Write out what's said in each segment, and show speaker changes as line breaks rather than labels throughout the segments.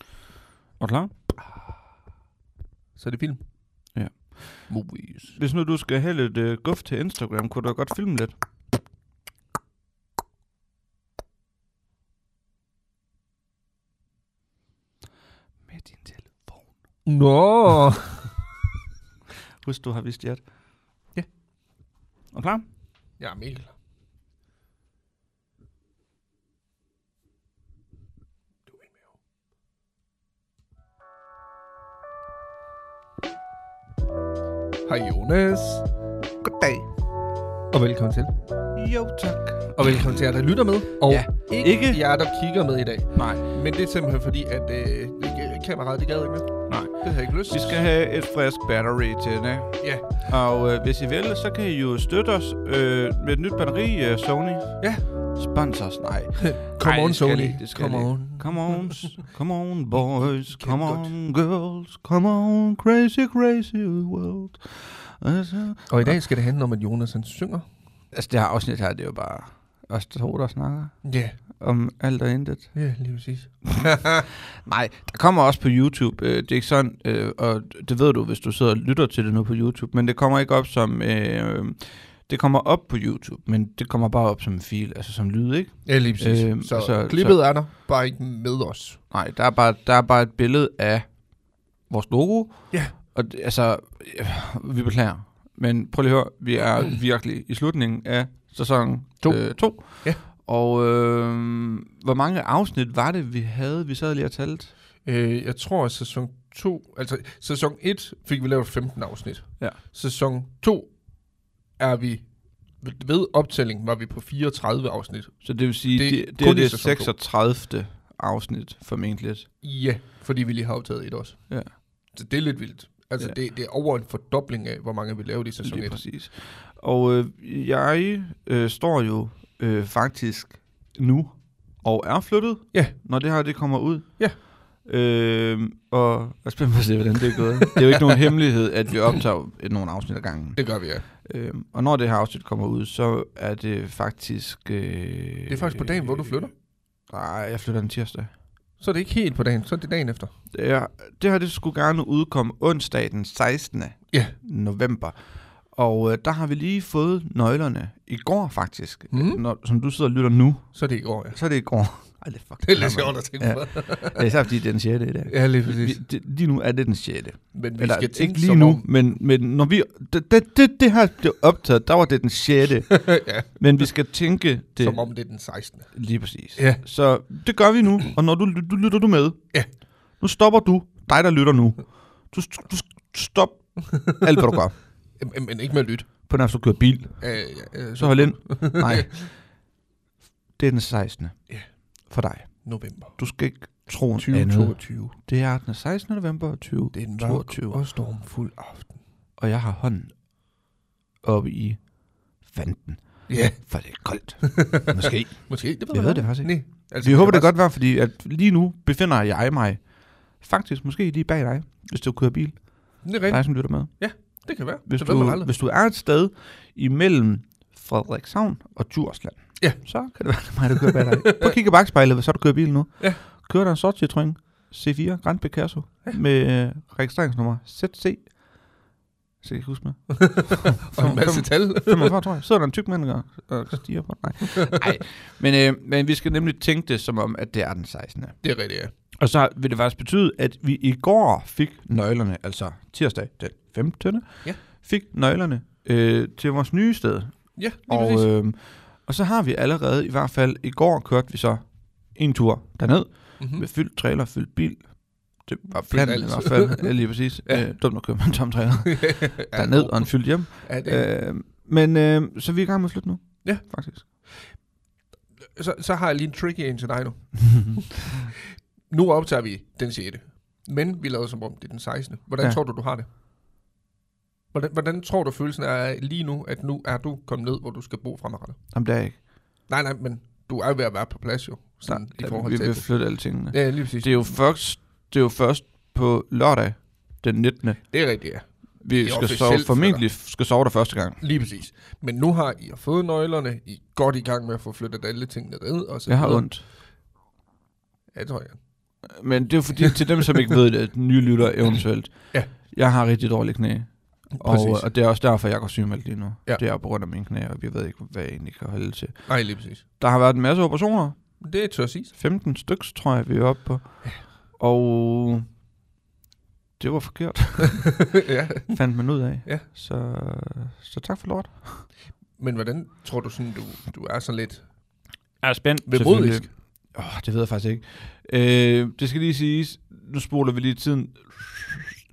Er du klar?
Så er det film.
Ja.
Movies.
Hvis nu du skal have lidt øh, guf til Instagram, kunne du da godt filme lidt. Med din telefon.
Nå!
Husk, du har vist hjert.
Ja.
Er du klar?
ja, Mikkel. Hej Jonas.
Goddag.
Og velkommen til.
Jo, tak.
Og velkommen til jer, der lytter med. Og
Ja.
ikke,
Ikke-
ikke jer, der kigger med i dag.
Nej,
Men det er simpelthen fordi, at øh, det- kameraet, det gad ikke med.
nej.
Det har jeg ikke lyst
Vi skal have et frisk battery til det.
Ja.
Og øh, hvis I vil, så kan I jo støtte os øh, med et nyt batteri, øh, Sony.
Ja.
Sponsors, nej.
Come
Ej,
on,
det skal jeg
Sony.
ikke, det skal
Come
jeg
on.
Come on, s- come on boys,
kan
come
godt.
on girls, come on crazy, crazy world. Altså,
Og i dag skal det handle om, at Jonas han synger.
altså det her afsnit her, det er jo bare os to, der snakker
Ja,
om alt og intet.
ja lige præcis.
Nej, der kommer også på YouTube, øh, det er ikke sådan, øh, og det ved du, hvis du sidder og lytter til det nu på YouTube, men det kommer ikke op som, øh, det kommer op på YouTube, men det kommer bare op som en fil, altså som lyd, ikke?
Ja, lige præcis.
Øhm,
Øhm, så,
så-
så klippet er der, bare ikke med os.
Nej, der er bare, der er bare et billede af vores logo.
Ja.
Og det, altså, øh, vi beklager. Men prøv lige at høre, vi er virkelig i slutningen af sæson
To.
2. Øh, to.
Ja.
Og øh, hvor mange afsnit var det, vi havde? Vi sad lige og talte.
Øh, jeg tror, at sæson 2... Altså, sæson 1 fik vi lavet 15 afsnit.
Ja.
Sæson 2 er vi... Ved optælling var vi på 34 afsnit.
Så det vil sige,
Det er
det, det, det
kun
er
i
det
sæson to.
36. afsnit formentlig.
Ja, fordi vi lige har optaget et også.
Ja.
Så det er lidt vildt. Altså,
Ja.
ja. det, det er over en fordobling af, hvor mange vi lavede i sæson
Lige
1.
præcis. Og øh, jeg øh, står jo øh, faktisk nu og er flyttet,
Ja.
når det her det kommer ud.
Ja.
Øh, og jeg er spændt på at se, hvordan det er gået. det er jo ikke nogen hemmelighed, at vi optager et- nogle afsnit ad gangen.
Det gør vi, ja.
Øh, og når det her afsnit kommer ud, så er det faktisk... Øh,
Det er faktisk på dagen, hvor du flytter.
Nej, jeg flytter den tirsdag.
Så er det ikke helt på dagen, så er det dagen efter.
Det, er, det her det skulle gerne udkomme onsdag den 16.
Ja.
november. Og øh, der har vi lige fået nøglerne i går faktisk.
Mhm.
Øh, Når, som du sidder og lytter nu,
Så er det i går, ja.
så er det i går. Ej, det er fucking
Det er lidt
gammelt.
sjovt at tænke
Ja.
på.
Ja, især fordi det er den 6. i dag.
Ja, lige
Vi, det, lige nu er det den 6.
Men vi
Eller,
skal tænke
ikke lige
som
nu,
Om,
men, men når vi... Det, det, det, det her blev optaget, der var det den 6.
ja,
men vi skal tænke det...
det. som om det er den 16.
Lige præcis.
Ja.
Så det gør vi nu, og når du, ly- du lytter du med.
Ja.
Nu stopper du, dig der lytter nu. Du, st- du st- stop alt, hvad du gør.
Øhm, øhm, Men ikke med at lytte.
På nær, hvis du kører bil,
Øh, ja, øh,
så hold ind. Nej. Det er den 16.
Ja.
For dig.
november
Du skal ikke tro en andet.
2022.
Det er den 16. november 20.
Det er en
22.
mørk og stormfuld aften.
Og jeg har hånden oppe i fanden.
Ja,
For det er koldt. Måske.
måske. Det
Jeg ved det faktisk ikke.
Nej. Altså,
Vi
kan
håber, det
bare
er godt vejr, fordi at lige nu befinder jeg mig faktisk måske lige bag dig, hvis du kører bil.
sige- Det er rigtigt.
Dig, som lytter med.
Det kan være.
Hvis
det ved man
du,
aldrig.
hvis du er et sted imellem Frederikshavn og Djursland,
Ja.
så kan det være, det er mig, der kører bag dig. Prøv at kigge i bagspejlet, så du kører bil nu.
Ja.
Kører der en sorti trøjen C4 Grand Picasso ja. med øh, registreringsnummer ZC. Så jeg ikke huske med.
Og en masse tal.
45, tror jeg. Sidder der en tyk mand og og stiger på den. Nej. Nej. Men, øh, men vi skal nemlig tænke det som om, at det er den 16.
Det er rigtigt, ja.
Og så vil det faktisk betyde, at vi i går fik nøglerne, altså tirsdag den 15.
Ja.
fik nøglerne øh, til vores nye sted.
Ja, lige og, præcis.
Og, øh, og så har vi allerede, i hvert fald i går, kørte vi så en tur derned
Mhm.
mm. med fyldt trailer, fyldt bil. Det var
Fyldt
planen
alt.
i hvert fald, ja, lige præcis.
Ja.
ja. øh, dumt at køre med en tom trailer
Ja,
derned
jo.
og en fyldt hjem.
Ja, det,
Øh, men øh, så vi er i gang med at flytte nu.
Ja.
Faktisk.
så, så har jeg lige en tricky en til dig nu. nu optager vi den 6. Men vi lavede som om, det er den 16. Hvordan
Ja.
ja. tror du, du har det? Hvordan, hvordan tror du, følelsen er lige nu, at nu er du kommet ned, hvor du skal bo fremadrettet?
Jamen, det er jeg ikke.
Nej, nej, men du er jo ved at være på plads jo. Sådan, i forhold
vi
til
vil
det.
flytte alle tingene.
Ja, lige præcis.
Det er jo først, det er jo først på lørdag, den 19.
Det er rigtigt, ja.
Vi
er
skal
officielt
sove,
for
formentlig skal sove der første gang.
Lige præcis. Men nu har I fået nøglerne. I er godt i gang med at få flyttet alle tingene ned. Og så
Jeg har
videre.
ondt.
Ja, det tror jeg.
Men det er jo fordi, til dem, som ikke ved det, nye lytter eventuelt.
Ja.
Jeg har rigtig dårlige knæ. Og, øh,
Præcis.
og det er også derfor, jeg går sygemeldt lige nu.
Ja.
Det er på grund af mine knæ, og jeg ved ikke, hvad jeg egentlig kan holde til.
Nej, lige præcis.
Der har været en masse operationer.
Det tør siges.
15 styks, tror jeg, vi er oppe på. Og det var forkert,
ja.
fandt man ud af.
Ja.
Så, så tak for lort.
Men hvordan tror du sådan, du, du er sådan lidt...
Jeg er spændt.
Vemodig.
selvfølgelig. Åh, det ved jeg faktisk ikke. Øh, det skal lige siges, nu spoler vi lige tiden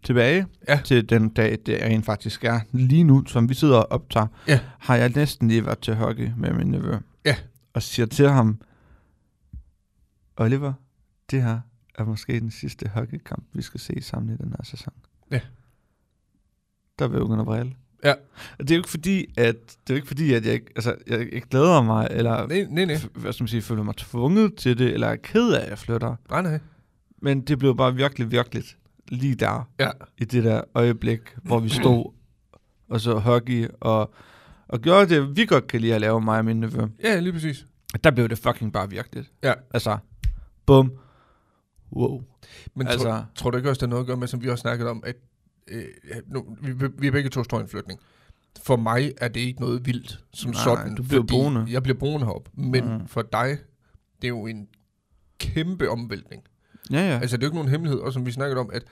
tilbage
Ja.
til den dag, det rent faktisk er. Lige nu, som vi sidder og optager,
Ja.
har jeg næsten lige været til hockey med min nevø.
Ja.
Og siger til ham, Oliver, det her er måske den sidste hockeykamp, vi skal se sammen i den her sæson.
Ja.
Der vil jeg begynde at vrille.
Ja.
Og det er jo ikke fordi, at, det er jo ikke fordi, at jeg, ikke- altså, jeg ikke glæder mig, eller
Nej, nej, nej.
f- hvad skal man sige, føler mig tvunget til det, eller er ked af, at jeg flytter.
Nej, nej.
Men det blev bare virkelig, virkelig lige der,
Ja.
i det der øjeblik, hvor vi stod og så hockey, og, og gjorde det, vi godt kan lide at lave, mig og min nevø.
Ja, lige præcis.
Der blev det fucking bare virkeligt.
Ja.
Altså, bum. Wow.
Men altså, tror,
altså,
tror du ikke også, der er noget at gøre med, som vi også snakket om, at øh, ja, nu, vi, vi er begge to står i en flytning. For mig er det ikke noget vildt som
Nej,
sådan.
du bliver
fordi
boende.
Jeg bliver boende heroppe. Men
Mm.
mm. for dig, det er jo en kæmpe omvæltning.
ja, ja.
Ja. Altså, det er jo ikke nogen hemmelighed, og som vi snakkede om, at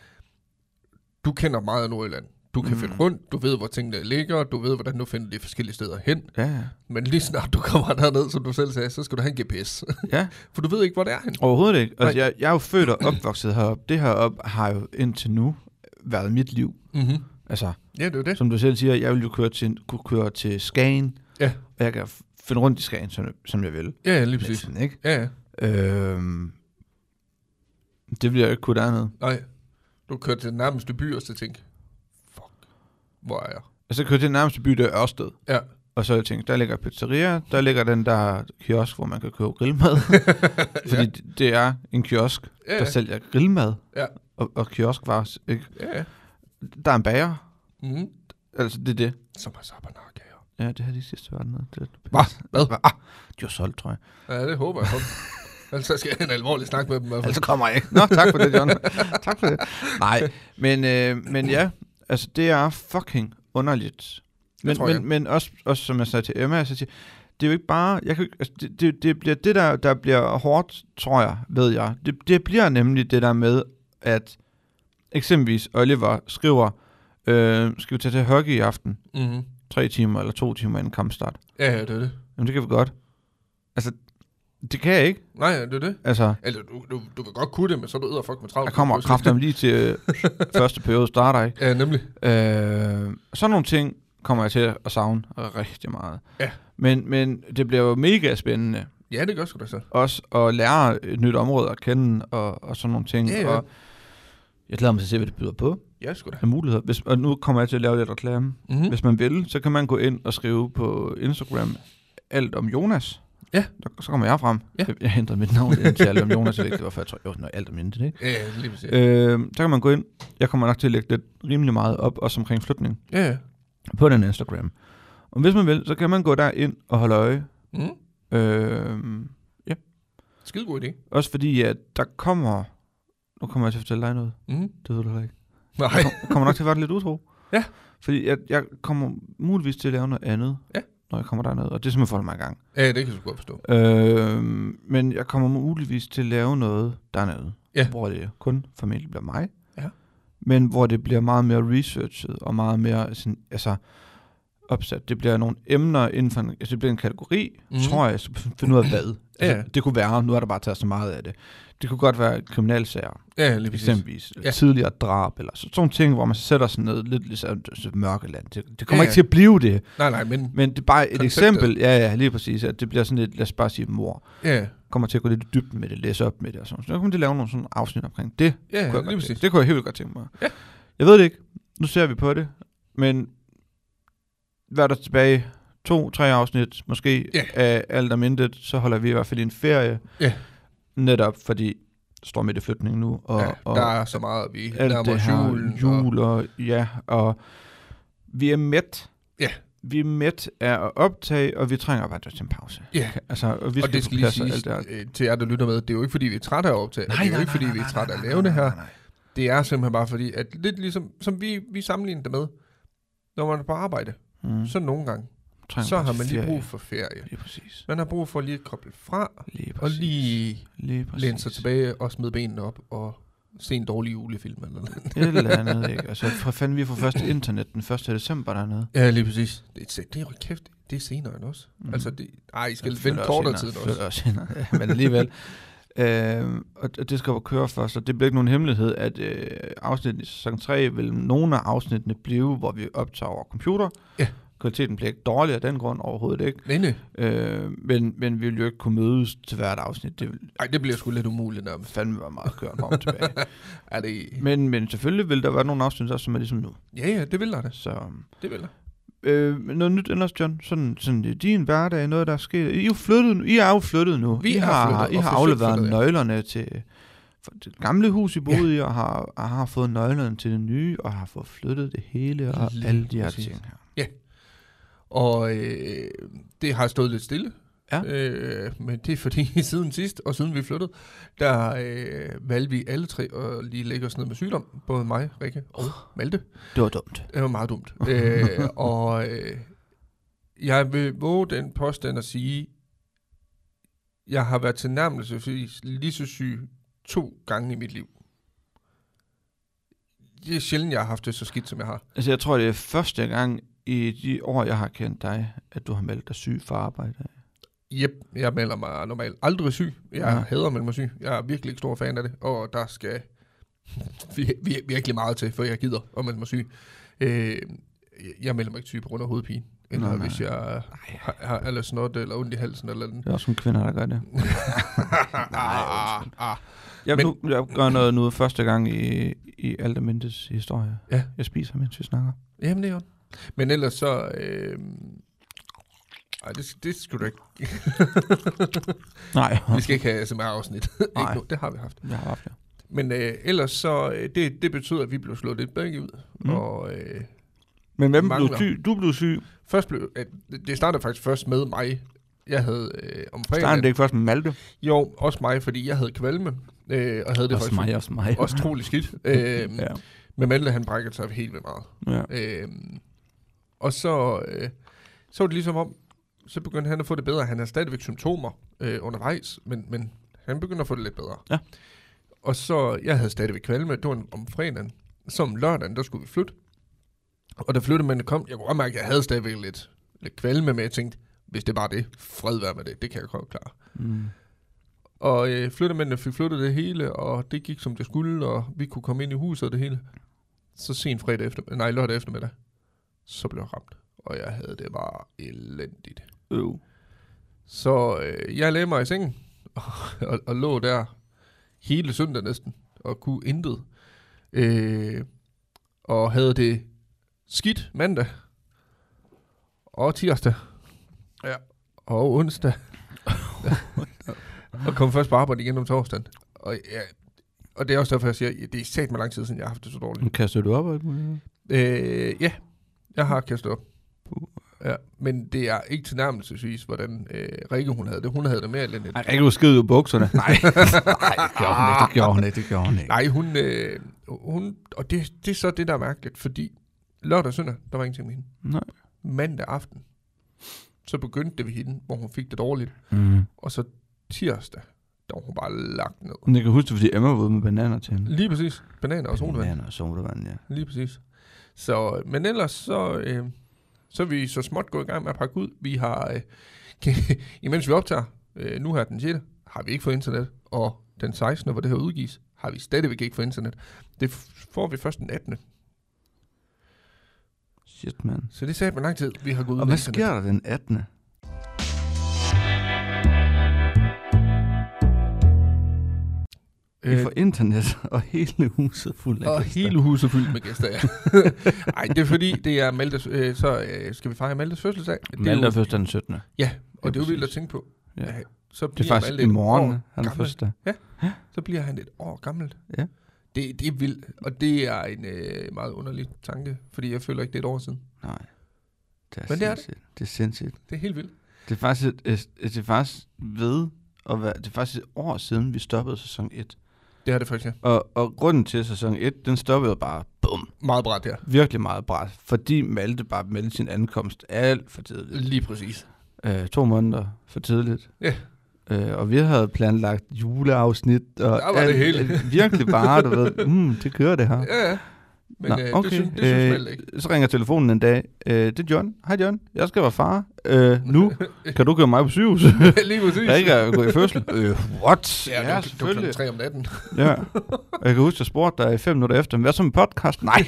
du kender meget af Nordjylland. Du kan
Mm.
mm. finde rundt, du ved, hvor tingene ligger, du ved, hvordan du finder de forskellige steder hen.
Ja, ja.
Men lige snart du kommer derned, som du selv sagde, så skal du have en GPS.
ja.
For du ved ikke, hvor det er hen.
Overhovedet ikke. Altså,
Nej.
jeg, jeg er jo født og opvokset heroppe. Det heroppe har jo indtil nu været mit liv.
Mm-hmm.
Altså,
Ja, det er jo det.
Som du selv siger, jeg vil jo køre til, kunne køre til Skagen,
Ja.
og jeg kan f- finde rundt i Skagen, som, som jeg vil.
Ja, ja, lige præcis.
Næsten, ikke?
Ja, ja.
Øhm, det bliver jeg jo ikke kunne dernede.
Nej. Du kørte til den nærmeste by, og så tænkte, fuck, hvor er jeg?
Og så kørte jeg til den nærmeste by, der er Ørsted.
Ja.
Og så tænkte jeg, der ligger pizzeria, der ligger den der kiosk, hvor man kan købe grillmad. Fordi det- det er en kiosk,
Ja,
der
ja.
sælger grillmad
Ja.
og, og kioskvarer. Ikke?
ja, ja.
Der er en bager.
Mm.
Altså, det er det.
Som har sabernak af.
Ja, det her de sidste var noget. Det,
Hva? Hvad?
Ah, de var solgt, tror jeg.
Ja, det håber jeg. Ellers så skal jeg have en alvorlig snak med dem. i hvert fald.
Altså kommer jeg ikke. Nå, tak for det, John. tak for det. Nej, men, øh, men ja, altså det er fucking underligt. Men,
tror jeg.
men, men også, også, som jeg sagde til Emma, så siger, det er jo ikke bare, jeg kan, jo ikke- altså, det, det, det, bliver det der, der bliver hårdt, tror jeg, ved jeg. Det, det bliver nemlig det der med, at eksempelvis Oliver skriver, øh, skal vi tage til hockey i aften?
Mm.
Tre timer eller to timer inden kampstart.
Ja, ja, det er det.
Jamen det kan vi godt. Altså, det kan jeg ikke.
Nej, ja, det er det.
Altså,
Altså, du, du, du kan godt kunne det, men så er du ud og fuck med travlt.
der kommer kraften lige til øh, første periode starter, ikke?
Ja, nemlig.
Øh, sådan nogle ting kommer jeg til at savne rigtig meget.
Ja.
Men, men det bliver jo mega spændende
Ja, det gør sgu da så.
også at lære et nyt område at kende og, og sådan nogle ting.
Ja, ja.
Og jeg glæder mig til at se, hvad det byder på
Ja, sgu da.
af muligheder. Hvis, og nu kommer jeg til at lave lidt reklame. Mm.
Mm.
Hvis man vil, så kan man gå ind og skrive på Instagram alt om Jonas.
Ja.
Der, så kommer jeg frem.
Ja.
Jeg, jeg henter mit navn ind til alt om Jonas. Jeg ved ikke, det var før, jeg tror, jo, når alt om Intet, ikke?
Ja, ja, lige præcis.
Øh, så kan man gå ind. Jeg kommer nok til at lægge lidt rimelig meget op, også omkring flytning
Ja, ja.
på den Instagram. Og hvis man vil, så kan man gå derind og holde øje.
Mm.
Øh,
Skide god idé.
også fordi, at der kommer... Nu kommer jeg til at fortælle dig noget.
Mm.
Det ved du heller ikke.
Nej.
Der kommer nok til at være lidt utro.
Ja.
Fordi jeg, jeg kommer muligvis til at lave noget andet,
Ja.
når jeg kommer derned. Og det er simpelthen for mig i gang.
Ja, det kan jeg sgu godt forstå.
Øh, men jeg kommer muligvis til at lave noget dernede.
Ja.
Hvor det kun formentlig bliver mig.
Ja.
Men hvor det bliver meget mere researchet og meget mere sådan, altså, opsat. Det bliver nogle emner inden for en, altså det bliver en kategori, mm.
Mhm.
tror jeg, så finde ud af hvad. Altså,
Ja.
Det kunne være, nu er der bare taget så meget af det. Det kunne godt være kriminalsager,
Ja, lige præcis.
eksempelvis. Ja.
Ja.
Tidligere drab, eller så, sådan nogle ting, hvor man sætter sig ned, lidt ligesom så mørkeland. Det, det kommer
Ja,
ikke
ja.
til at blive det,
Nej, nej, men
men det er bare et
Konceptet.
eksempel. Ja, ja, lige præcis. At det bliver sådan et, lad os bare sige, mor
ja,
kommer til at gå lidt i dybden med det, læse op med det og sådan noget. Så kommer de lave nogle sådan afsnit omkring det. kunne
ja,
jeg
lige
godt
præcis.
tænke. Det kunne jeg helt vildt godt tænke mig.
Ja.
Jeg ved det ikke. Nu ser vi på det. Men hvad er der tilbage? To, tre afsnit måske
Ja.
af alt om intet. Så holder vi i hvert fald en ferie.
Ja.
Netop fordi står midt i flytningen nu. Og,
Ja,
og
der er så meget, vi
alt
nærmer
det
os
her
julen. og-
jul og, ja, og vi er mæt.
Ja.
vi er mæt af at optage, og vi trænger bare til en pause.
Ja.
Altså, og vi
Vi
skal,
og det
på
skal lige
plads og alt
siges
det her.
øh, til jer, der lytter med, det er jo ikke, fordi vi er trætte af at optage, og Øh, det er jo ikke, fordi vi er trætte af at lave det her. Det er simpelthen bare fordi, at lidt ligesom, som vi, vi sammenligner det med, når man er på arbejde,
Mm.
så nogle gange,
trænger
så
bare
har
til
man lige
ferie.
brug for ferie.
Lige præcis.
Man har brug for lige at koble fra,
Lige præcis.
og lige
lige præcis.
læne sig tilbage og smide benene op og se en dårlig julefilm eller noget.
Et eller andet, ikke? Altså, for fanden, vi får først internet den 1. december dernede.
Ja, lige præcis. Det, er- det er jo kæft, det er senere end os.
Mm.
Mm. Altså, det, ej, I skal
Jeg føler
vente
også
kortere
senere,
tid end
føler
os.
også senere. Ja, men alligevel. Øhm, og og det skal jo køre for, så det bliver ikke nogen hemmelighed, at øh, afsnittet i sæson 3 vil nogle af afsnittene blive, hvor vi optager over computer.
Ja.
Kvaliteten bliver ikke dårlig af den grund overhovedet ikke.
Nej, nej.
Øh, men, men vi vil jo ikke kunne mødes til hvert afsnit. Det vil
Ej, det bliver sgu lidt umuligt nærmest.
fandme være meget kørt om og tilbage.
Er det...
Men, men selvfølgelig vil der være nogle afsnit, der som er ligesom nu.
Ja, ja, det vil der da.
Så,
Det vil der.
øh, noget nyt ellers, John. Sådan, sådan i din hverdag, noget der er sket. I er jo flyttet nu. I er jo flyttet nu.
Vi
I
er
har,
flyttet,
I har
officielt
afleveret
flyttet, ja.
nøglerne til for det gamle hus, I boede i, og har, og har fået nøglerne til det nye, og har fået flyttet det hele, og
Lige
alle de her
præcis.
ting her.
Og øh, det har stået lidt stille.
Ja.
Øh, men det er fordi, siden sidst, og siden vi flyttede, der øh, valgte vi alle tre at lige lægge os ned med sygdom. Både mig, Rikke og Malte.
Det var dumt.
Det var meget dumt. øh, og øh, jeg vil våge den påstand at sige, jeg har været tilnærmelsesvis lige så syg to gange i mit liv. Det er sjældent, jeg har haft det så skidt, som jeg har.
Altså, jeg tror, det er første gang i de år, jeg har kendt dig, at du har meldt dig syg for arbejde.
Jep, jeg melder mig normalt aldrig syg. Jeg
Ja.
ja. hader at melde mig syg. Jeg er virkelig ikke stor fan af det, og der skal vi, vi, virkelig meget til, for jeg gider at melde mig syg. Øh, jeg melder mig ikke syg på grund af hovedpine, eller
Nej, nej.
nej, nej. hvis jeg har, har eller snot eller ondt i halsen eller den.
Det er også nogle kvinder, der gør det.
ah, ah.
Jeg,
Men-
nu, jeg gør noget nu første gang i, i Aldermindes historie.
Ja.
Jeg spiser, mens vi snakker.
Jamen, det er jo. Men ellers så... Øh, ej, det, det skulle du ikke.
Nej,
Vi skal ikke have ASMR-afsnit.
Nej.
ikke nu, det har vi haft.
jeg har haft det.
Men øh, ellers så... Øh, det, det betyder, at vi blev slået lidt begge ud.
Mm.
Mm. Og... Øh,
Men hvem blev
Mangler.
syg? Du blev syg.
Først blev, at det startede faktisk først med mig. Jeg havde øh, om
Startede
fredagen.
det ikke først med Malte?
Jo, også mig, fordi jeg havde kvalme. Øh, og havde det faktisk
også mig.
også troligt skidt. Øh, ja.
ja.
Men Malte, han brækkede sig helt vildt meget.
ja.
Øh, og så, øh, så var det ligesom om, så begyndte han at få det bedre. Han havde stadigvæk symptomer øh, undervejs, men, men han begyndte at få det lidt bedre.
Ja.
Og så, jeg havde stadigvæk kvalme, det var om fredagen. Så om lørdagen, der skulle vi flytte. Og da flyttemanden kom, jeg kunne godt mærke, at jeg havde stadigvæk lidt, lidt kvalme, men jeg tænkte, hvis det bare er det, fred være med det, det kan jeg godt klare.
Mm.
Og øh, flyttemændene fik flyttet det hele, og det gik som det skulle, og vi kunne komme ind i huset og det hele. Så sent fredag efter, nej, lørdag eftermiddag, så blev jeg ramt, og jeg havde det bare elendigt.
Øv.
Så øh, jeg lagde mig i sengen, og, og lå der hele søndag næsten, og kunne intet. Øh, og havde det skidt mandag, og tirsdag, ja. og onsdag. og kom først på arbejde igen om torsdagen. Og, ja, og det er også derfor, jeg siger, at det er sat med lang tid siden, jeg har haft det så dårligt.
Nu kaster du op og alt muligt. andet.
Øh, ja, jeg har kastet op.
Puh.
Ja, men det er ikke tilnærmelsesvis, hvordan øh, Rikke hun havde det. Hun havde det mere elendigt.
Ej, ikke du skide ud i bukserne. Nej, Nej det gjorde hun ikke, det gjorde hun ikke, det gjorde hun ikke.
Nej, hun, øh, hun og det, det er så det, der er mærkeligt, fordi lørdag og søndag, der var ingenting med hende.
Nej.
Mandag aften, så begyndte det ved hende, hvor hun fik det dårligt,
Mm.
og så tirsdag, der var hun bare lagt ned.
Men jeg kan huske det, fordi Emma var ude med bananer til hende.
Lige præcis. Bananer og solvand.
Bananer og sodavand, ja.
Lige præcis. Så, men ellers så, øh, så er vi så småt gået i gang med at pakke ud. Vi har, øh, imens vi optager, øh, nu her den 6. har vi ikke fået internet, og den 16. hvor det her udgives, har vi stadigvæk ikke fået internet. Det f- får vi først den 18.
Shit, mand.
Så det sagde man lang tid, vi har gået
Og
uden
hvad
internet.
sker der den 18. Vi
Øh,
får internet og hele huset fuld af
og
gæster.
hele huset fyldt med gæster, ja. Ej, det er fordi, det er Maltes, øh, så øh, skal vi fejre Maltes fødselsdag. Det er
Malte er
jo,
først den 17.
og det er jo
præcis.
vildt at tænke på.
Ja.
Ja. Så
Det
bliver
er faktisk
Malte
i
et
morgen,
år
han er
gammel.
første.
så bliver han et år gammel.
Ja.
Det, det er vildt, og det er en øh, meget underlig tanke, fordi jeg føler ikke, det er et år siden.
Nej. Det er
Men det er det.
sindssygt. Det. det er sindssygt.
Det er helt vildt.
Det er faktisk, et, et, et, det er faktisk ved at være, det er faktisk et år siden, vi stoppede sæson 1.
Det er det faktisk, ja.
Og, og grunden til at sæson 1, den stoppede bare, bum,
Meget bræt, ja.
virkelig meget bræt. Fordi Malte bare meldte sin ankomst alt for tidligt.
Lige præcis.
Øh, to måneder for tidligt.
Ja.
Øh, og vi havde planlagt juleafsnit. Og
Der var det hele.
virkelig bare, du ved, mm, det kører det her.
Ja, ja. Men
Nå,
øh,
okay.
det synes, det synes
Øh,
øh, Malte ikke.
Så ringer telefonen en dag. Øh, det er John. Hej John, jeg skal være far. Øh, nu kan du køre mig på sygehus.
Lige præcis.
Jeg ikke er gået i fødsel. øh, what?
Ja, det var- det var klokken tre om natten.
ja. Og jeg kan huske, jeg spurgte dig fem minutter efter, men hvad så med podcast? Nej.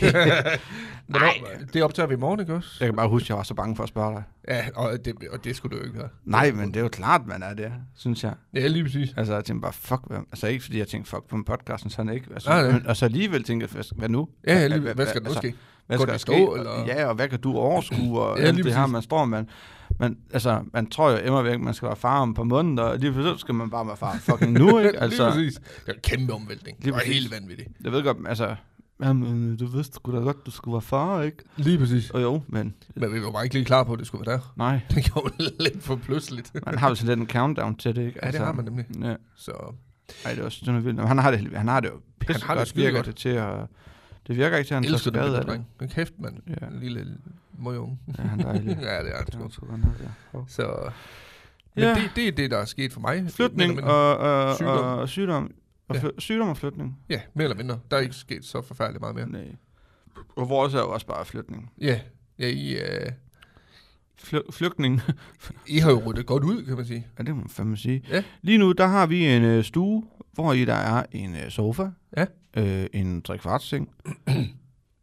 Nej. Det optager vi i morgen, ikke også?
jeg kan bare huske, at jeg var så bange for at spørge dig.
Ja, og det, og det skulle du jo ikke have.
Nej, men det er jo klart, man er det, synes jeg.
Ja, lige præcis.
Altså, jeg tænkte bare, fuck, hvad? Altså, ikke fordi jeg tænkte, fuck, på podcasten, sådan ikke. Altså,
Nej, nej.
men- Og så alligevel tænkte jeg, hvad- hvad nu?
Ja, ja, lige, hvad skal der nu
altså,
ske?
Hvad
Går
skal der
det i
ske?
stå,
Og-
eller?
Ja, og hvad kan du overskue? Og
Ja,
ja, alt
lige
det her,
præcis.
man står, man... Man, altså, man tror jo immer væk, man skal være far om et par måneder, og lige pludselig skal man bare være far fucking nu,
Ja,
ikke?
lige
Altså,
præcis. Det var en kæmpe omvæltning.
Lige
Det var
præcis.
helt vanvittigt.
jeg ved godt, altså... Jamen, du vidste sgu da godt, du skulle være far, ikke?
Lige præcis.
Og jo, men
Men vi var bare ikke lige klar på, at det skulle være der.
nej.
Det gjorde det lidt for pludseligt.
Man har jo sådan lidt en countdown til det, ikke? Altså,
Ja, det har man nemlig.
Ja.
Så
Ej, det er også sådan noget vildt. Men Han har det, heldigvis- han har det jo pisse
har det
godt,
skide
virker
godt.
det til at... Det virker ikke til, at han tager
elsker den
skade
lille
af det.
dreng. Men kæft, mand.
Ja,
En lille møgunge.
ja han er dejlig.
ja, det er han
Det
sgu.
var sgu godt nok, ja. Hov.
Så men
Ja.
det, det er det, der er sket for mig. Mere
Flytning
eller mindre.
og, og,
Sygdom.
og, og sygdom. Og
Ja.
fly, sygdom og flytning.
Ja, mere eller mindre. Der er ikke sket så forfærdeligt meget mere.
Nej. øh, Og vores er jo også bare flytning.
Ja, ja I, øh,
Fly, flygtning.
I har jo ryddet godt ud, kan man sige.
Ja, det må man fandme sige.
Ja.
Lige nu, der har vi en øh, stue, hvor i der er en øh, sofa.
Ja.
Øh, en trekvartseng.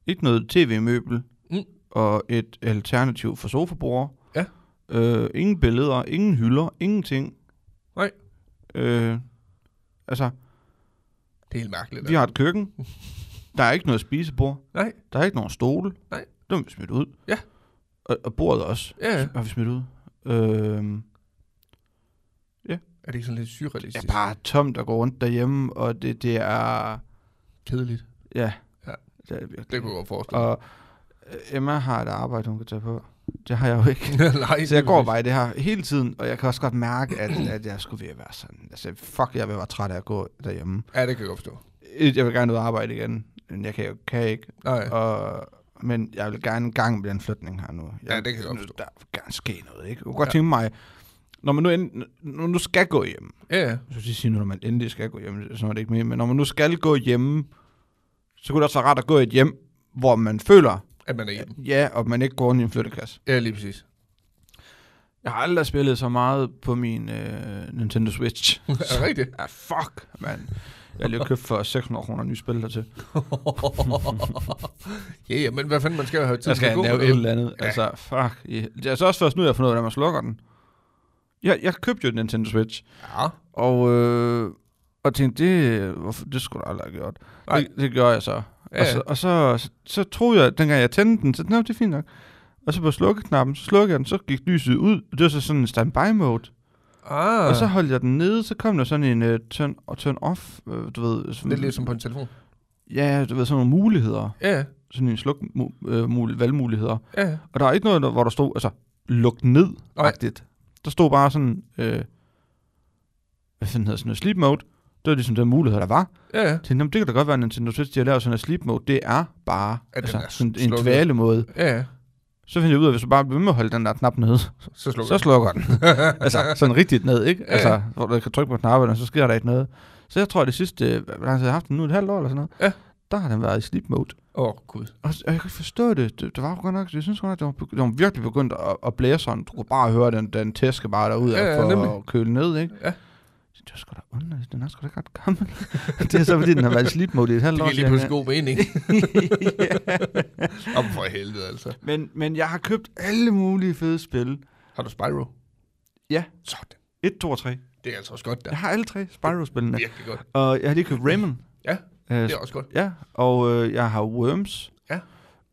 Ikke noget tv-møbel.
Mm.
Og et alternativ for sofabord.
Ja.
Øh, ingen billeder, ingen hylder, ingenting.
Nej.
Øh, altså,
Det er helt mærkeligt.
Vi har et køkken. Der er ikke noget spisebord.
Nej.
Der er ikke nogen stole.
Nej.
Det har vi smidt ud.
Ja.
Og, og bordet også
Ja, ja.
har vi smidt ud. Øhm,
er det ikke sådan lidt
det
surrealistisk?
er bare tomt at gå rundt derhjemme, og det, det er...
kedeligt.
Ja.
Ja.
Det er det virkelig.
Det kunne jeg godt forestille mig.
Og øh, Emma har et arbejde, hun kan tage på. Det har jeg jo ikke.
Nej,
Så jeg går
præcis.
bare i det her hele tiden, og jeg kan også godt mærke, at, at jeg skulle ved at være sådan. Altså, fuck, jeg vil være træt af at gå derhjemme.
Ja, det kan jeg godt forstå.
Et, Jeg vil gerne ud og arbejde igen, men jeg kan jo kan ikke.
Nej,
Og, men jeg vil gerne en gang med den flytning her nu. Jeg,
Ja, det kan jeg godt
nu-
forstå.
Der vil gerne ske noget, ikke? Jeg kunne godt
Ja.
ja. tænke mig, når man nu, end, når man nu skal gå hjem,
ja, ja.
så skal sige, nu, når man endelig skal gå hjem, så er det ikke mere, men når man nu skal gå hjemme, så kunne det også være rart at gå i et hjem, hvor man føler,
At man er hjemme.
ja, og man ikke går rundt i en flyttekasse.
Ja, lige præcis.
Jeg har aldrig spillet så meget på min øh, Nintendo Switch.
er det rigtigt?
Ja, fuck, mand. Jeg har lige købt for 600 kroner nye spil dertil.
ja, ja, men hvad fanden, man skal jo have tid
Jeg
til at
skal
gå
lave
med
et
noget.
eller andet.
Ja.
Ja. Altså, fuck. I- Det er altså også først nu, jeg har fundet ud af, hvordan man slukker den. Jeg, jeg købte jo en Nintendo Switch,
Ja,
og, øh, og tænkte, det, hvorfor, det skulle jeg aldrig have gjort.
Nej.
Det, det gør jeg så.
Ja,
Og, så, og så, så, så troede jeg, dengang jeg tændte den, så Nå, det er fint nok. Og så på slukkeknappen, så slukkede jeg den, så gik lyset ud. Det var så sådan en standby mode.
Ah,
Og så holdt jeg den nede, så kom der sådan en uh, turn, og turn off, uh, du ved. Sådan,
det er lidt som på en telefon.
Ja, du ved, sådan nogle muligheder.
Ja, ja,
Sådan en sluk uh, mul- valgmuligheder.
ja, ja.
Og der er ikke noget, der- hvor der stod, altså, luk ned
Nej.
-agtigt. Der stod bare sådan, øh, hvad fanden hedder sådan noget, sleep mode. Det var ligesom den mulighed, der var.
ja, ja.
Jeg tænkte, jamen, det kan da godt være, at Nintendo Switch, de har lavet sådan en sleep mode. Det er bare
At den
altså,
er
sådan en
slukket.
dvale måde.
Ja, ja.
Så finder jeg ud af, at hvis du bare bliver ved med at holde den der knap nede,
Så slukker
så slukker den. altså, sådan rigtigt ned, ikke?
Ja,
Altså, hvor du kan trykke på knappen, og så sker der ikke noget. Så jeg tror, at det sidste, øh, hvor lang tid jeg har haft den nu, et halvt år eller sådan noget,
Ja.
der har den været i sleep mode.
Åh, oh, gud.
Og, og jeg kan ikke forstå det. det. Det var jo godt nok, jeg synes godt nok, det var, begy- det var virkelig begyndt at, at blæse sådan. Du kunne bare høre den, den tæske bare derude
Ja,
ja,
ja,
ja, for
nemlig.
at køle ned, ikke?
Ja.
Det er sgu da underligt, den er sgu da ikke ret gammel. det er så fordi, den har været i sleep mode i et halvt
Det
år.
giver lige
cirka.
pludselig god mening.
Ja.
Om for helvede, altså.
men, men jeg har købt alle mulige fede spil.
Har du Spyro?
Ja.
Sådan.
1, 2 og 3.
Det er altså også godt, der.
Jeg har alle tre Spyro-spillene.
Virkelig godt.
Og jeg har lige købt Rayman.
Ja,
Øh,
Det er også godt.
Ja, og øh, jeg har Worms.
Ja.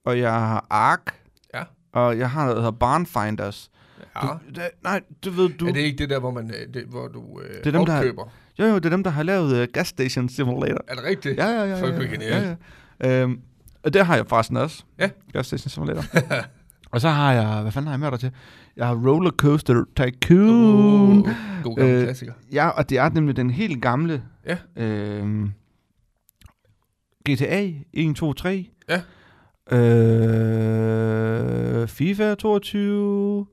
Og jeg har Ark.
Ja.
Og jeg har noget, der hedder Barnfinders.
Ja.
Du, det, nej, du ved, du...
Er det ikke det der, hvor, man, øh, det, hvor du øh,
er dem, der-
opkøber? Der...
Jo, jo, det er dem, der har lavet uh, Gas Station Simulator.
Er det rigtigt?
Ja, ja, ja.
Fuck,
ja,
hvor
ja,
genialt.
ja, ja. Øhm, og det har jeg forresten også.
Ja.
Gas Station Simulator. Og så har jeg, hvad fanden har jeg med dig til? Jeg har Rollercoaster Tycoon. Uh.
God gammel
Øh,
øh, klassiker.
Ja, og det er nemlig den helt gamle.
Ja.
Øhm, GTA 1, 2, 3.
Ja.
Øh, FIFA 22.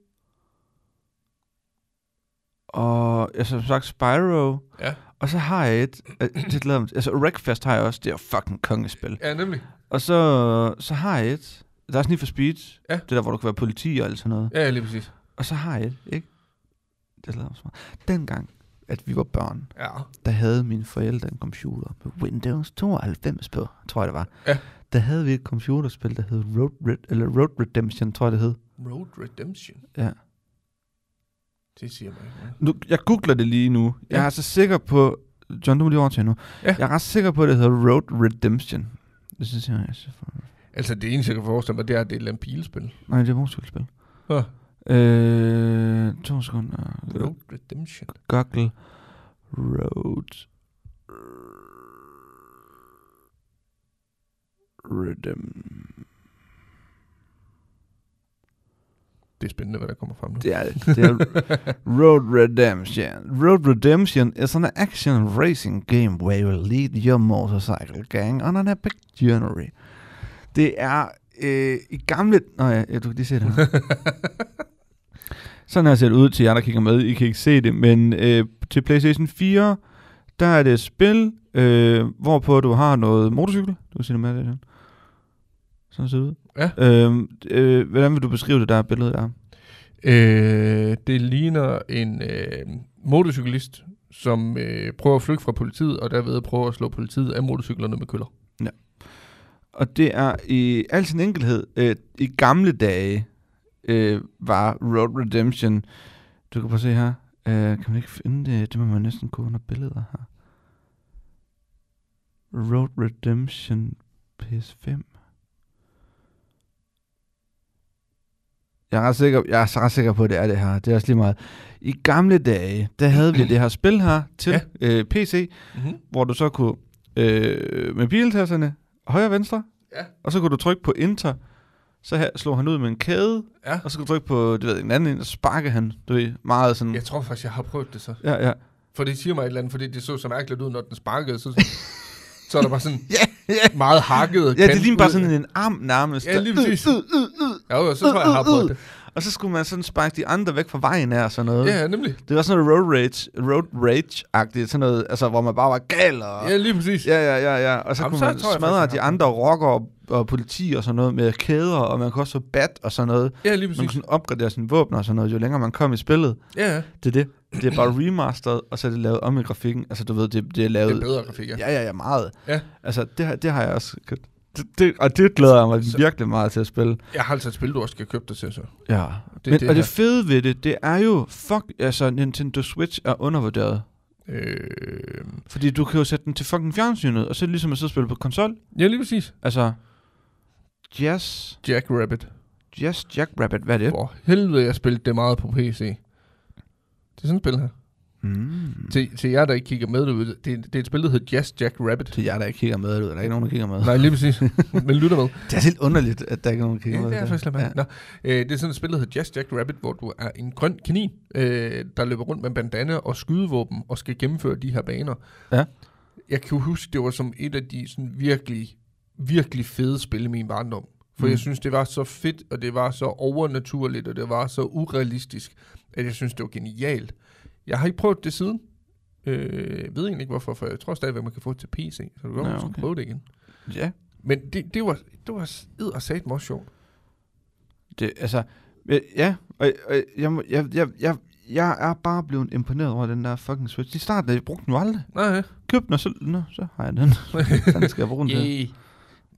Og ja, som sagt Spyro.
Ja.
Og så har jeg et, øh, det glæder jeg mig til. altså Wreckfest har jeg også, det er fucking kongespil.
Ja, nemlig.
Og så, så har jeg et, der er Need for Speed,
Ja.
det der, hvor du kan være politi og alt sådan noget.
Ja, lige præcis.
Og så har jeg et, ikke? Det lader mig så meget. Dengang, at vi var børn,
Ja.
der havde mine forældre en computer med Windows 92 på, tror jeg det var.
Ja.
Der havde vi et computerspil, der hed Road, Red, eller Road Redemption, tror jeg det hed.
Road Redemption.
Ja.
Det siger mig ikke noget.
Nu, jeg googler det lige nu. Jeg
Ja.
er så sikker på... John, du må lige overtage nu.
Ja.
Jeg er ret sikker på, at det hedder Road Redemption. Det synes jeg, jeg synes,
Altså, det eneste, jeg kan forestille mig, det er, at det er et eller andet bilspil.
Nej, det er motorcykelspil.
Huh.
Øh, to sekunder.
Road Redemption.
Google Road Redemption.
Det er spændende, hvad der kommer frem nu.
Det er, det er Road Redemption. Road Redemption is an action racing game where you lead your motorcycle gang on an epic journey. Det er øh, i gamle... Nå ja, ja, du kan lige se det her. Sådan har det set ud til jer, der kigger med. I kan ikke se det, men øh, til PlayStation 4, der er det et spil, øh, hvorpå du har noget motorcykel. Du kan se det med det. her. Sådan ser det ud.
Ja.
Øh, øh, hvordan vil du beskrive det der billede der?
Øh, det ligner en øh, motorcyklist, som øh, prøver at flygte fra politiet, og derved prøver at slå politiet af motorcyklerne med køller.
Og det er i al sin enkelhed, øh, i gamle dage øh, var Road Redemption, du kan prøve at se her, øh, kan man ikke finde det, det må man næsten gå under billeder her. Road Redemption PS5. Jeg er, ret sikker, jeg er så ret sikker på, at det er det her. Det er også lige meget. I gamle dage, der havde vi det her spil her til
Ja.
øh, PC,
Mm-hmm.
hvor du så kunne øh, med biltasserne højre og venstre,
Ja.
og så kunne du trykke på enter, så her slog han ud med en kæde,
Ja.
og så kunne du trykke på det ved, jeg, en anden ind, og sparke han, du ved, meget sådan...
Jeg tror faktisk, jeg har prøvet det så.
Ja, ja.
For det siger mig et eller andet, fordi det så så mærkeligt ud, når den sparkede. Så, så er der bare sådan
Ja, ja.
meget hakket.
Ja, det
kant
ligner bare
ud.
sådan en arm nærmest.
Ja,
der-
lige præcis.
Øh, øh, øh, øh.
Ja, jo, så tror jeg, jeg har prøvet det.
Og så skulle man sådan sparke de andre væk fra vejen af og sådan noget.
Ja, nemlig.
Det var sådan noget road rage, road rage-agtigt, sådan noget, altså, hvor man bare var gal og...
Ja, lige præcis.
Ja, ja, ja, ja. Og så Jamen,
Jamen, så
kunne man
tror jeg
smadre
faktisk,
de
jeg har
andre rocker og, og politi og sådan noget med kæder, og man kunne også få bat og sådan noget.
Ja, lige
Man
præcis.
kunne sådan opgradere sine våben og sådan noget, jo længere man kom i spillet.
Ja, ja.
Det er det. Det er bare remasteret, og så er det lavet om i grafikken. Altså, du ved, det, det er
det
lavet...
er bedre grafik, ja.
ja, ja, ja, meget.
Ja.
Altså, det, har- det har jeg også... købt. Det, det, og det glæder jeg mig
Så-
virkelig meget til at spille.
Jeg har altså et spil, du også skal købe dig til, så.
Ja.
Det,
Men, det, og
her.
det fede ved det, det er jo... Fuck, altså, Nintendo Switch er undervurderet.
Øh,
Fordi du kan jo sætte den til fucking fjernsynet, og så er det ligesom at sidde og spille på konsol.
ja, lige præcis.
Altså... Jazz...
Jack Rabbit.
Jazz Jackrabbit, hvad er det?
For helvede, jeg spillede det meget på PC. Det er sådan et spil her.
Mm.
Til, til jer, der ikke kigger med derude, det, det er et spil, der hedder Jazz Jack Rabbit.
Til jer, der ikke kigger med, du ved, der er ikke nogen, der kigger med.
Nej, lige præcis. Men lytter med.
Det er helt underligt, at der ikke er nogen, der
Ja,
kigger med.
det er faktisk lidt mærkeligt. Nå, øh, det er sådan et spil, der hedder Jazz Jack Rabbit, hvor du er en grøn kanin, øh, der løber rundt med en bandana og skydevåben og skal gennemføre de her baner.
Ja.
Jeg kan jo huske, det var som et af de sådan virkelig, virkelig fede spil i min barndom. For mm.
Mm.
jeg synes, det var så fedt, og det var så overnaturligt, og det var så urealistisk, at jeg synes, det var genialt. Jeg har ikke prøvet det siden. Øh, jeg ved egentlig ikke hvorfor, for jeg tror stadigvæk, man kan få det til PC, så du kan godt
Ja,
ja, okay.
okay.
prøve det igen.
Ja,
Men det, det var, det var ed og sat meget sjovt.
det, altså, øh, ja, og, og jeg, må- jeg, jeg, jeg, jeg er bare blevet imponeret over den der fucking Switch. I starten, jeg brugte den jo aldrig.
Nej,
Køb den, og så, nå, så har jeg den. den skal jeg bruge den til.
Yeah.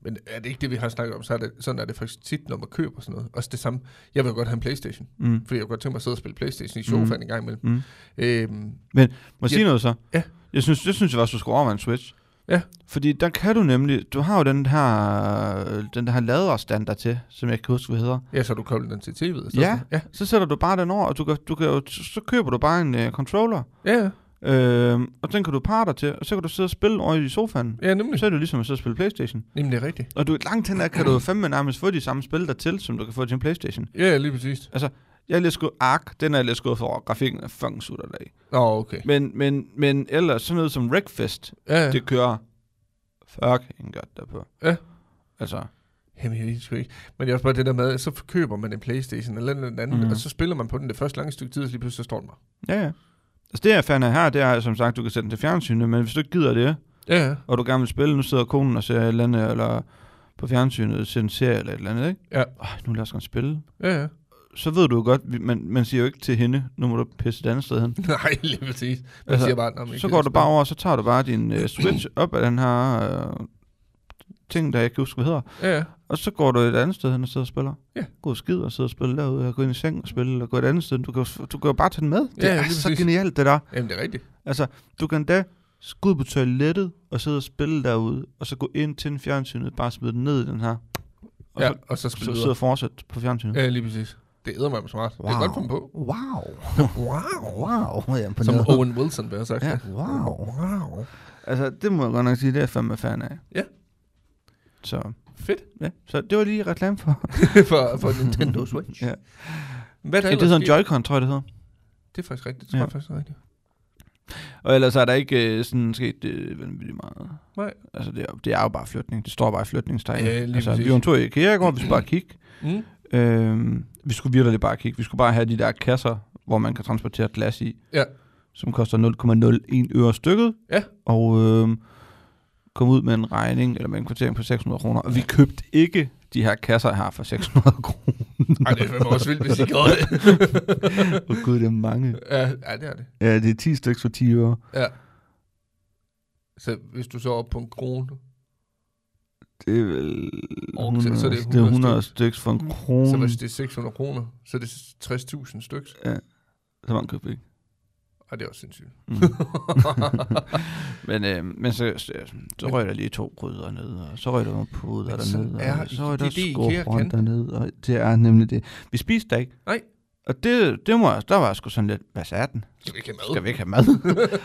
Men er det ikke det, vi har snakket om? Så er det, sådan er det faktisk tit, når man køber sådan noget. Også det samme. Jeg vil jo godt have en Playstation.
Mm.
Fordi jeg kunne godt tænke mig at sidde og spille Playstation i sofaen mm. en gang imellem.
Mm.
Øhm,
Må jeg sige
Ja.
noget så?
Ja.
Jeg synes, det synes jeg også, du skulle overveje en Switch.
Ja.
Fordi der kan du nemlig, du har jo den her, den her laderstand der til, som jeg kan huske, hvad hedder.
ja, så har du koblet den til tv'et. i stedet
Ja.
for. ja.
Så sætter du bare den over, og du kan, du kan jo, så køber du bare en øh, controller.
Ja, ja.
Øh, og den kan du parre dig til, og så kan du sidde og spille over i sofaen.
Ja, nemlig.
Så er det jo ligesom at sidde og spille Playstation.
Jamen, det er rigtigt.
Og du langt hen ad kan du jo fandme nærmest få de samme spil dertil, som du kan få til en Playstation.
Ja, lige præcis.
Jeg er lidt skudt Ark, den er jeg lidt skudt for, og grafikken er fucking sutter af.
Nå, okay.
Men, men, men ellers sådan noget som Wreckfest,
Ja, ja.
det kører fucking godt derpå.
Ja.
Altså,
Jamen, jeg ved det sgu ikke. Men det er også bare det der med, at så køber man en Playstation eller den anden,
Mhm.
mm. og så spiller man på den det første lange stykke tid, og så lige pludselig så står den bare.
ja, ja. Altså det, jeg fandt af her, det er som sagt, du kan sætte den til fjernsynet, men hvis du ikke gider det,
Ja, ja.
og du gerne vil spille, nu sidder konen og ser et eller andet, eller på fjernsynet ser en serie eller et eller andet, ikke?
Ja.
Øj, nu lad os gerne spille.
Ja, ja.
Så ved du jo godt, vi- man, man siger jo ikke til hende, nu må du pisse et andet sted hen.
Nej, lige præcis. Man
Altså,
altså, siger bare, "Nå, men jeg
Så
gider
går du
ikke
bare over, og så tager du bare din øh, Switch op af den her øh, ting, der jeg ikke husker, hvad hedder.
spille." Ja, ja.
Og så går du et andet sted hen og sidder og spiller.
Ja.
Gå og skid og sidder og spiller derude, og gå ind i seng og spille, og gå et andet sted. Du kan, jo f- du kan jo bare tage den med. Det
Ja,
er
lige
så
præcis.
genialt, det der.
Jamen, det er rigtigt.
Altså, du kan da gå ud på toilettet og sidde og spille derude, og så gå ind til en fjernsynet, bare smide den ned i den her. Og
ja,
så,
og så skal
så
du
sidde og fortsætte på fjernsynet.
Ja, Øh, lige præcis. Det æder mig med smart. Wow. Det er godt fundet på.
Wow.
Wow.
Wow. Jeg er
Som
imponeret.
Owen Wilson, vil jeg have sagt.
Ja, wow.
Wow.
Altså, det må jeg godt nok sige, det er jeg fandme fan af.
Ja.
Så,
Fedt.
ja. så det var lige reklame for.
for, for Nintendo Switch.
Ja.
Hvad der
Ja, det
ellers
hedder en
sker-
Joy-Con, tror jeg, det hedder.
Det er faktisk rigtigt. Det tror
Ja.
jeg faktisk er rigtigt.
Og ellers er der ikke øh, sådan sket øh, vanvittigt meget.
Nej.
Altså, det er, det er jo bare flytning. Det står bare i flytningstegn.
Ja, lige
altså,
præcis.
vi var en tur i IKEA i går, vi skulle bare kigge.
Mm.
Øhm, vi skulle virkelig bare kigge. Vi skulle bare have de der kasser, hvor man kan transportere glas i.
Ja.
Som koster 0,01 øre stykket.
Ja.
Og øhm, kom ud med en regning, eller med en kvartering på 600 kroner. Og vi købte ikke de her kasser her for 600 kroner.
Ej, det er fandme også vildt, hvis I gjorde det.
Åh gud, det er mange.
ja, ja, det er det.
Ja, det er 10 stykker for 10 øre.
Ja. Så hvis du så er oppe på en krone,
Det er vel...
Og så-
100,
så er det 100
det er 100
styks.
stykker for en krone.
så hvis det er 600 kroner, så er det 60.000 stykker.
Så mange købte vi ikke.
Ej, det er også sindssygt.
Mm. men, øh, men så, så, så røg der lige to gryder ned, og så røg der nogle puder
Men sådan
dernede,
er
og så røg
I-
der
det er det, IKEA
skorbrønd
kan.
dernede, og det er nemlig det. Vi spiste der ikke.
Nej.
Og det, det må, jeg- der var jeg sgu sådan lidt, hvad er den?
Skal vi ikke have mad?
Skal vi ikke have mad?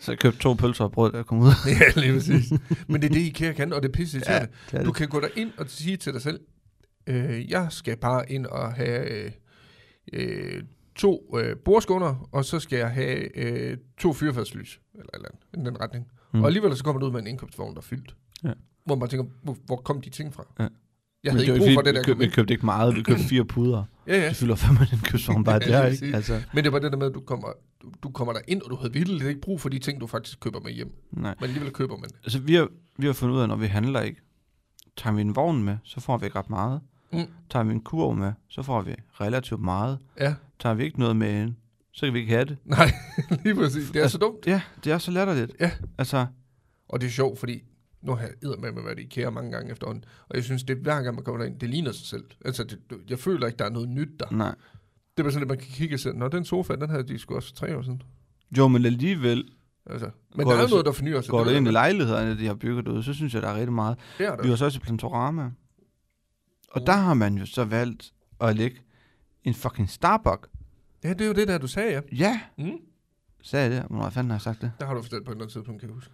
så jeg købte to pølser og brød, der kom ud.
ja, lige præcis. Men det er det, IKEA kan, og det er pisse
Ja,
ja.
det er
Du
det.
kan gå ind og sige til dig selv, øh, jeg skal bare ind og have øh, øh, to øh, bordskåner, og så skal jeg have øh, to fyrfærdslys, eller et eller andet, i den retning.
Mm.
Mm. Og alligevel så kommer du ud med en indkøbsvogn, der er fyldt.
Ja.
Hvor man tænker, hvor, hvor kom de ting fra?
Ja.
Jeg
Men
havde
det
ikke
var
brug for
fordi,
det der.
vi, køb, vi
kom
købte ikke meget, vi købte fire puder.
ind. ja, ja.
Det fylder fandme den købsvogn bare
Ja,
der,
lige
ikke?
præcis.
Altså,
Men det var det der med, at du kommer, du, du kommer der ind og du havde vildt ikke brug for de ting, du faktisk køber med hjem.
nej.
Men alligevel køber man det.
Altså, vi har, vi har fundet ud af, når vi handler ikke, tager vi en vogn med, så får vi ikke ret meget.
Mm.
Tager vi en kurv med, så får vi relativt meget.
Ja,
Tager vi ikke noget med ind, så kan vi ikke have det.
nej, lige præcis. Det er så dumt.
Ja, det er så latterligt.
Ja.
Altså,
Og det er sjovt, fordi nu har jeg med at være i IKEA mange gange efterhånden. Og jeg synes, det er hver gang, man kommer derind, det ligner sig selv. Altså, det, du- jeg føler ikke, der er noget nyt der.
nej.
Det er bare sådan, at man kan kigge og sige, Nå, den sofa, den havde de sgu også for tre år siden.
Jo, men alligevel
Altså, men
Går
der er jo
du så-
noget, der fornyer sig.
går
det,
du
er
ind i
der-
lejlighederne, de har bygget derude, så synes jeg, der er rigtig meget.
det er der.
Vi var så også i Plantorama. Og
Mm.
der har man jo så valgt at lægge en fucking Starbucks.
Ja, det er jo det der, du sagde, ja.
Ja,
Mm.
sagde jeg det. Hvornår fanden har jeg sagt det?
Der har du fortalt på et eller andet tidspunkt, kan jeg huske.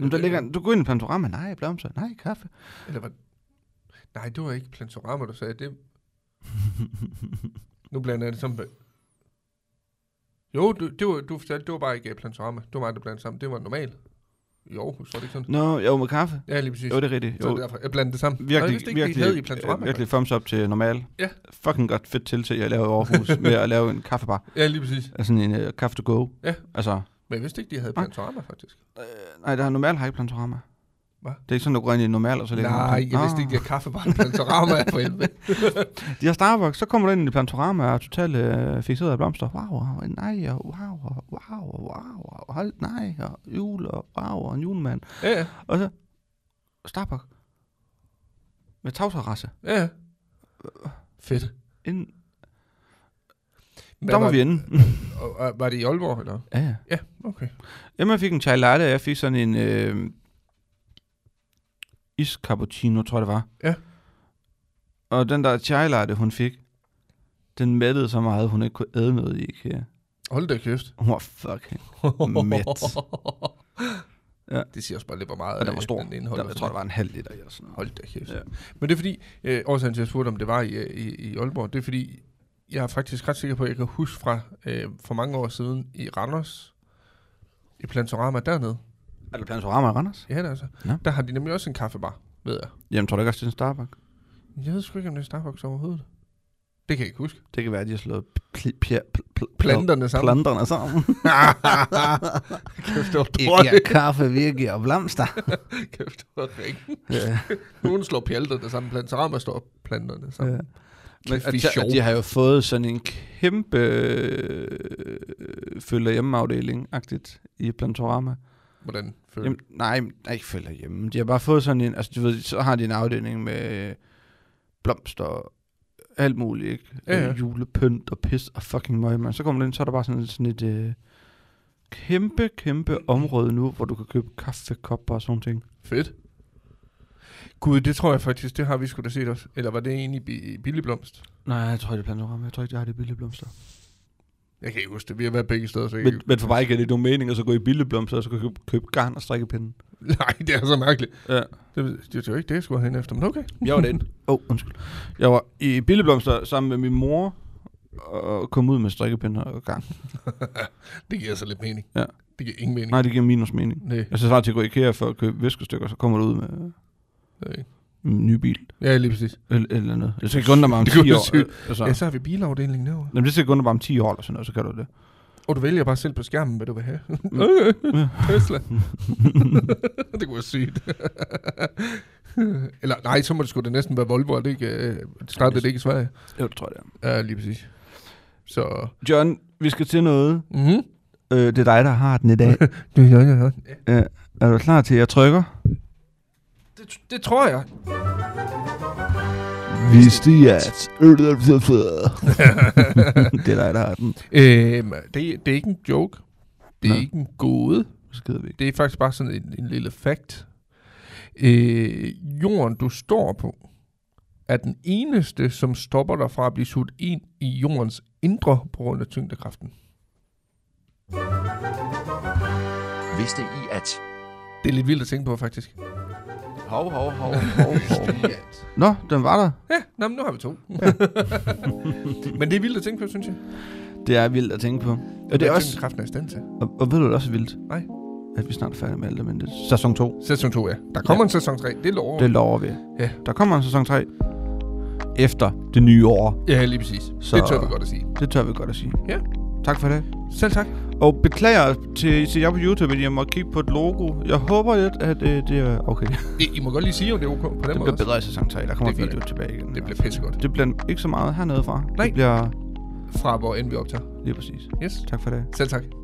Men der ligger, du går ind i Plantorama. Nej, blomster. Nej, kaffe.
Eller var... Nej, det var ikke Plantorama, du sagde. Det... nu blander jeg det sammen med... Jo, du, det var, du fortalte, det var bare ikke øh, Plantorama. Det var mig, der blandede sammen. Det var normalt. I Aarhus, var det ikke sådan?
Nå, jo, med kaffe.
Ja, lige præcis.
Mm. Jo, det er rigtigt.
Så
Jo,
er det derfor, jeg blandede det sammen. Nå, jeg
Virkelig,
vidste ikke,
virkelig,
det havde i
øh,
Plantorama.
virkelig thumbs up til normal.
Ja.
Fucking godt fedt tiltag, jeg lavede i Aarhus med at lave en kaffebar.
Ja, lige præcis.
Altså sådan en uh, kaffe to go.
Ja.
Altså,
Men jeg vidste ikke, de havde
Nej.
Plantorama, faktisk.
øh, nej, der er normal har ikke plantorama.
Hva?
Det er ikke sådan, du går ind i normal, og så lægger
Nej, jeg vidste
det.
ikke, de havde kaffebaren Plantorama for helvede.
De har Starbucks, så kommer du ind i plantorama og er totalt øh, fixeret af blomster. Wow, wow, nej, og wow, og wow, og wow, og hold, nej, og jul, og wow, og en julemand.
Ja, ja,
Og så Starbucks med tagterrasse.
ja, ja. Fedt.
Inden,
Hvad
der må
var,
vi ende.
og- og- var det i Aalborg, eller?
ja, ja.
Ja, okay.
Jamen, jeg fik en chai latte, og jeg fik sådan en øh, iscappuccino, tror jeg det var.
Ja.
Og den der chai latte, hun fik, den mættede så meget, hun ikke kunne æde noget i IKEA.
Hold da kæft.
Hun var fucking mæt. Ja.
Det siger også bare lidt, hvor meget
Og den var
øh,
stor.
den
Der,
indeholder.
jeg tror, der var en halv liter eller sådan noget.
Hold da kæft. Ja.
Ja.
Men det er fordi, øh, årsagen til, at jeg spurgte, om det var i, øh, i, i Aalborg, det er fordi, jeg er faktisk ret sikker på, at jeg kan huske fra øh, for mange år siden i Randers, i Plantorama dernede,
Er det Planetorama i Randers?
ja, der, altså, ja.
Ja.
der har de nemlig også en kaffebar, ved jeg.
Jamen, tror du ikke også, det er en Starbucks?
Jeg ved sgu ikke, om det er Starbucks overhovedet. Det kan jeg ikke huske.
Det kan være, at de har slået pl- pl- pl- pl-
Planterne sammen.
planterne sammen.
Kæft, det var
giver
dårligt.
kaffe, vi giver blomster.
Kæft, det var ringe.
ja.
Nogen slår pjalterne sammen, Plantorama står planterne sammen.
Ja.
Ja.
Men,
Kæft,
og,
vi
de,
er
og
sjove.
de har jo fået sådan en kæmpe øh, følger hjemmeafdeling-agtigt i Plantorama.
Hvordan føler
Jamen, nej, men- nej, ikke følger hjemme. De har bare fået sådan en, altså du ved, så har de en afdeling med blomster og alt muligt, ikke?
Ja, ja.
Øh, Julepynt og pis og fucking møg, man. Så kommer du ind, så er der bare sådan, sådan et øh, kæmpe, kæmpe område nu, hvor du kan købe kaffekopper og sådan ting.
Fedt. Gud, det tror jeg faktisk, det har vi sgu da set også. Eller var det egentlig bi- billigblomst?
Nej, jeg tror, det er Plantorama. Jeg tror ikke, de har det billige blomster.
Jeg kan ikke huske det. Vi har været begge steder, så jeg
Men,
kan-
men for mig giver det ikke nogen mening at så gå i billige blomster, og så kan købe, købe garn og strikkepinde.
Nej, det er så mærkeligt.
Ja.
Det, det, det er jo ikke det, jeg skulle hen efter, men okay.
Jeg var derinde. Åh, oh, undskyld. Jeg var i Billeblomster sammen med min mor, og kom ud med strikkepinder og gang.
Det giver så lidt mening.
Ja.
Det giver ingen mening.
Nej, det giver minus mening.
Nej.
Jeg så svarer til at gå i IKEA for at købe viskestykker, så kommer du ud med øh,
Nej.
en ny bil.
Ja, lige præcis.
Eller, eller noget. Jeg skal ikke undre mig om
Det kunne
10
du
år.
sige.
øh, Altså.
Ja, så har vi bilafdelingen derovre.
Jamen, det skal ikke undre mig om 10 år, eller sådan noget, så kan du det.
Og du vælger bare selv på skærmen, hvad du vil have. Okay. Tesla. det kunne være sygt. Eller nej, så må det sgu da næsten være Volvo, og det ikke, øh, startede det ikke i Sverige.
Jo, det tror jeg, det er.
Ja, lige præcis. Så...
John, vi skal til noget.
Mm-hmm.
Øh, det er dig, der har den i dag.
Ja, ja, ja, ja.
øh, er du klar til, at jeg trykker?
Det, det tror jeg.
Vidste I, at... det er dig, der har den.
Øhm, det, det er ikke en joke. Det er
Nå.
ikke en gåde.
Så gider vi ikke.
Det er faktisk bare sådan en, en lille fact. Øh, jorden, du står på, er den eneste, som stopper dig fra at blive suget ind i jordens indre på grund af tyngdekraften.
Vidste I at?
Det er lidt vildt at tænke på, faktisk.
Hov, hov, hov, hov, hov.
Nå, den var der.
Ja, nå, men nu har vi to. men det er vildt at tænke på, synes jeg.
Det er vildt at tænke på. Og, det
Hvad
er også,
Tyngdekraften er i stand til.
og, og ved du, det er også vildt?
Nej.
At vi snart er færdige med alt det, men det er sæson 2.
Sæson 2, ja. Der kommer ja. en sæson 3. Det lover.
Det lover vi.
Ja.
Der kommer en sæson 3 efter det nye år.
Ja, lige præcis. Så...
Så-
Det tør vi godt at sige.
Det tør vi godt at sige.
Ja.
Tak for det.
Selv tak.
Og beklager til, til jer på YouTube, at jeg må kigge på et logo. Jeg håber lidt, at øh, det er... Okay, det
I, I må godt lige sige, om det er ok på den måde.
bliver
også.
bedre i sæson 3. Der kommer
Det gør
video tilbage igen.
Det bliver pissegodt.
det bliver ikke så meget hernede fra.
Nej.
Det bliver
Fra hvor end vi optager.
lige præcis.
Yes.
Tak for det.
Selv tak.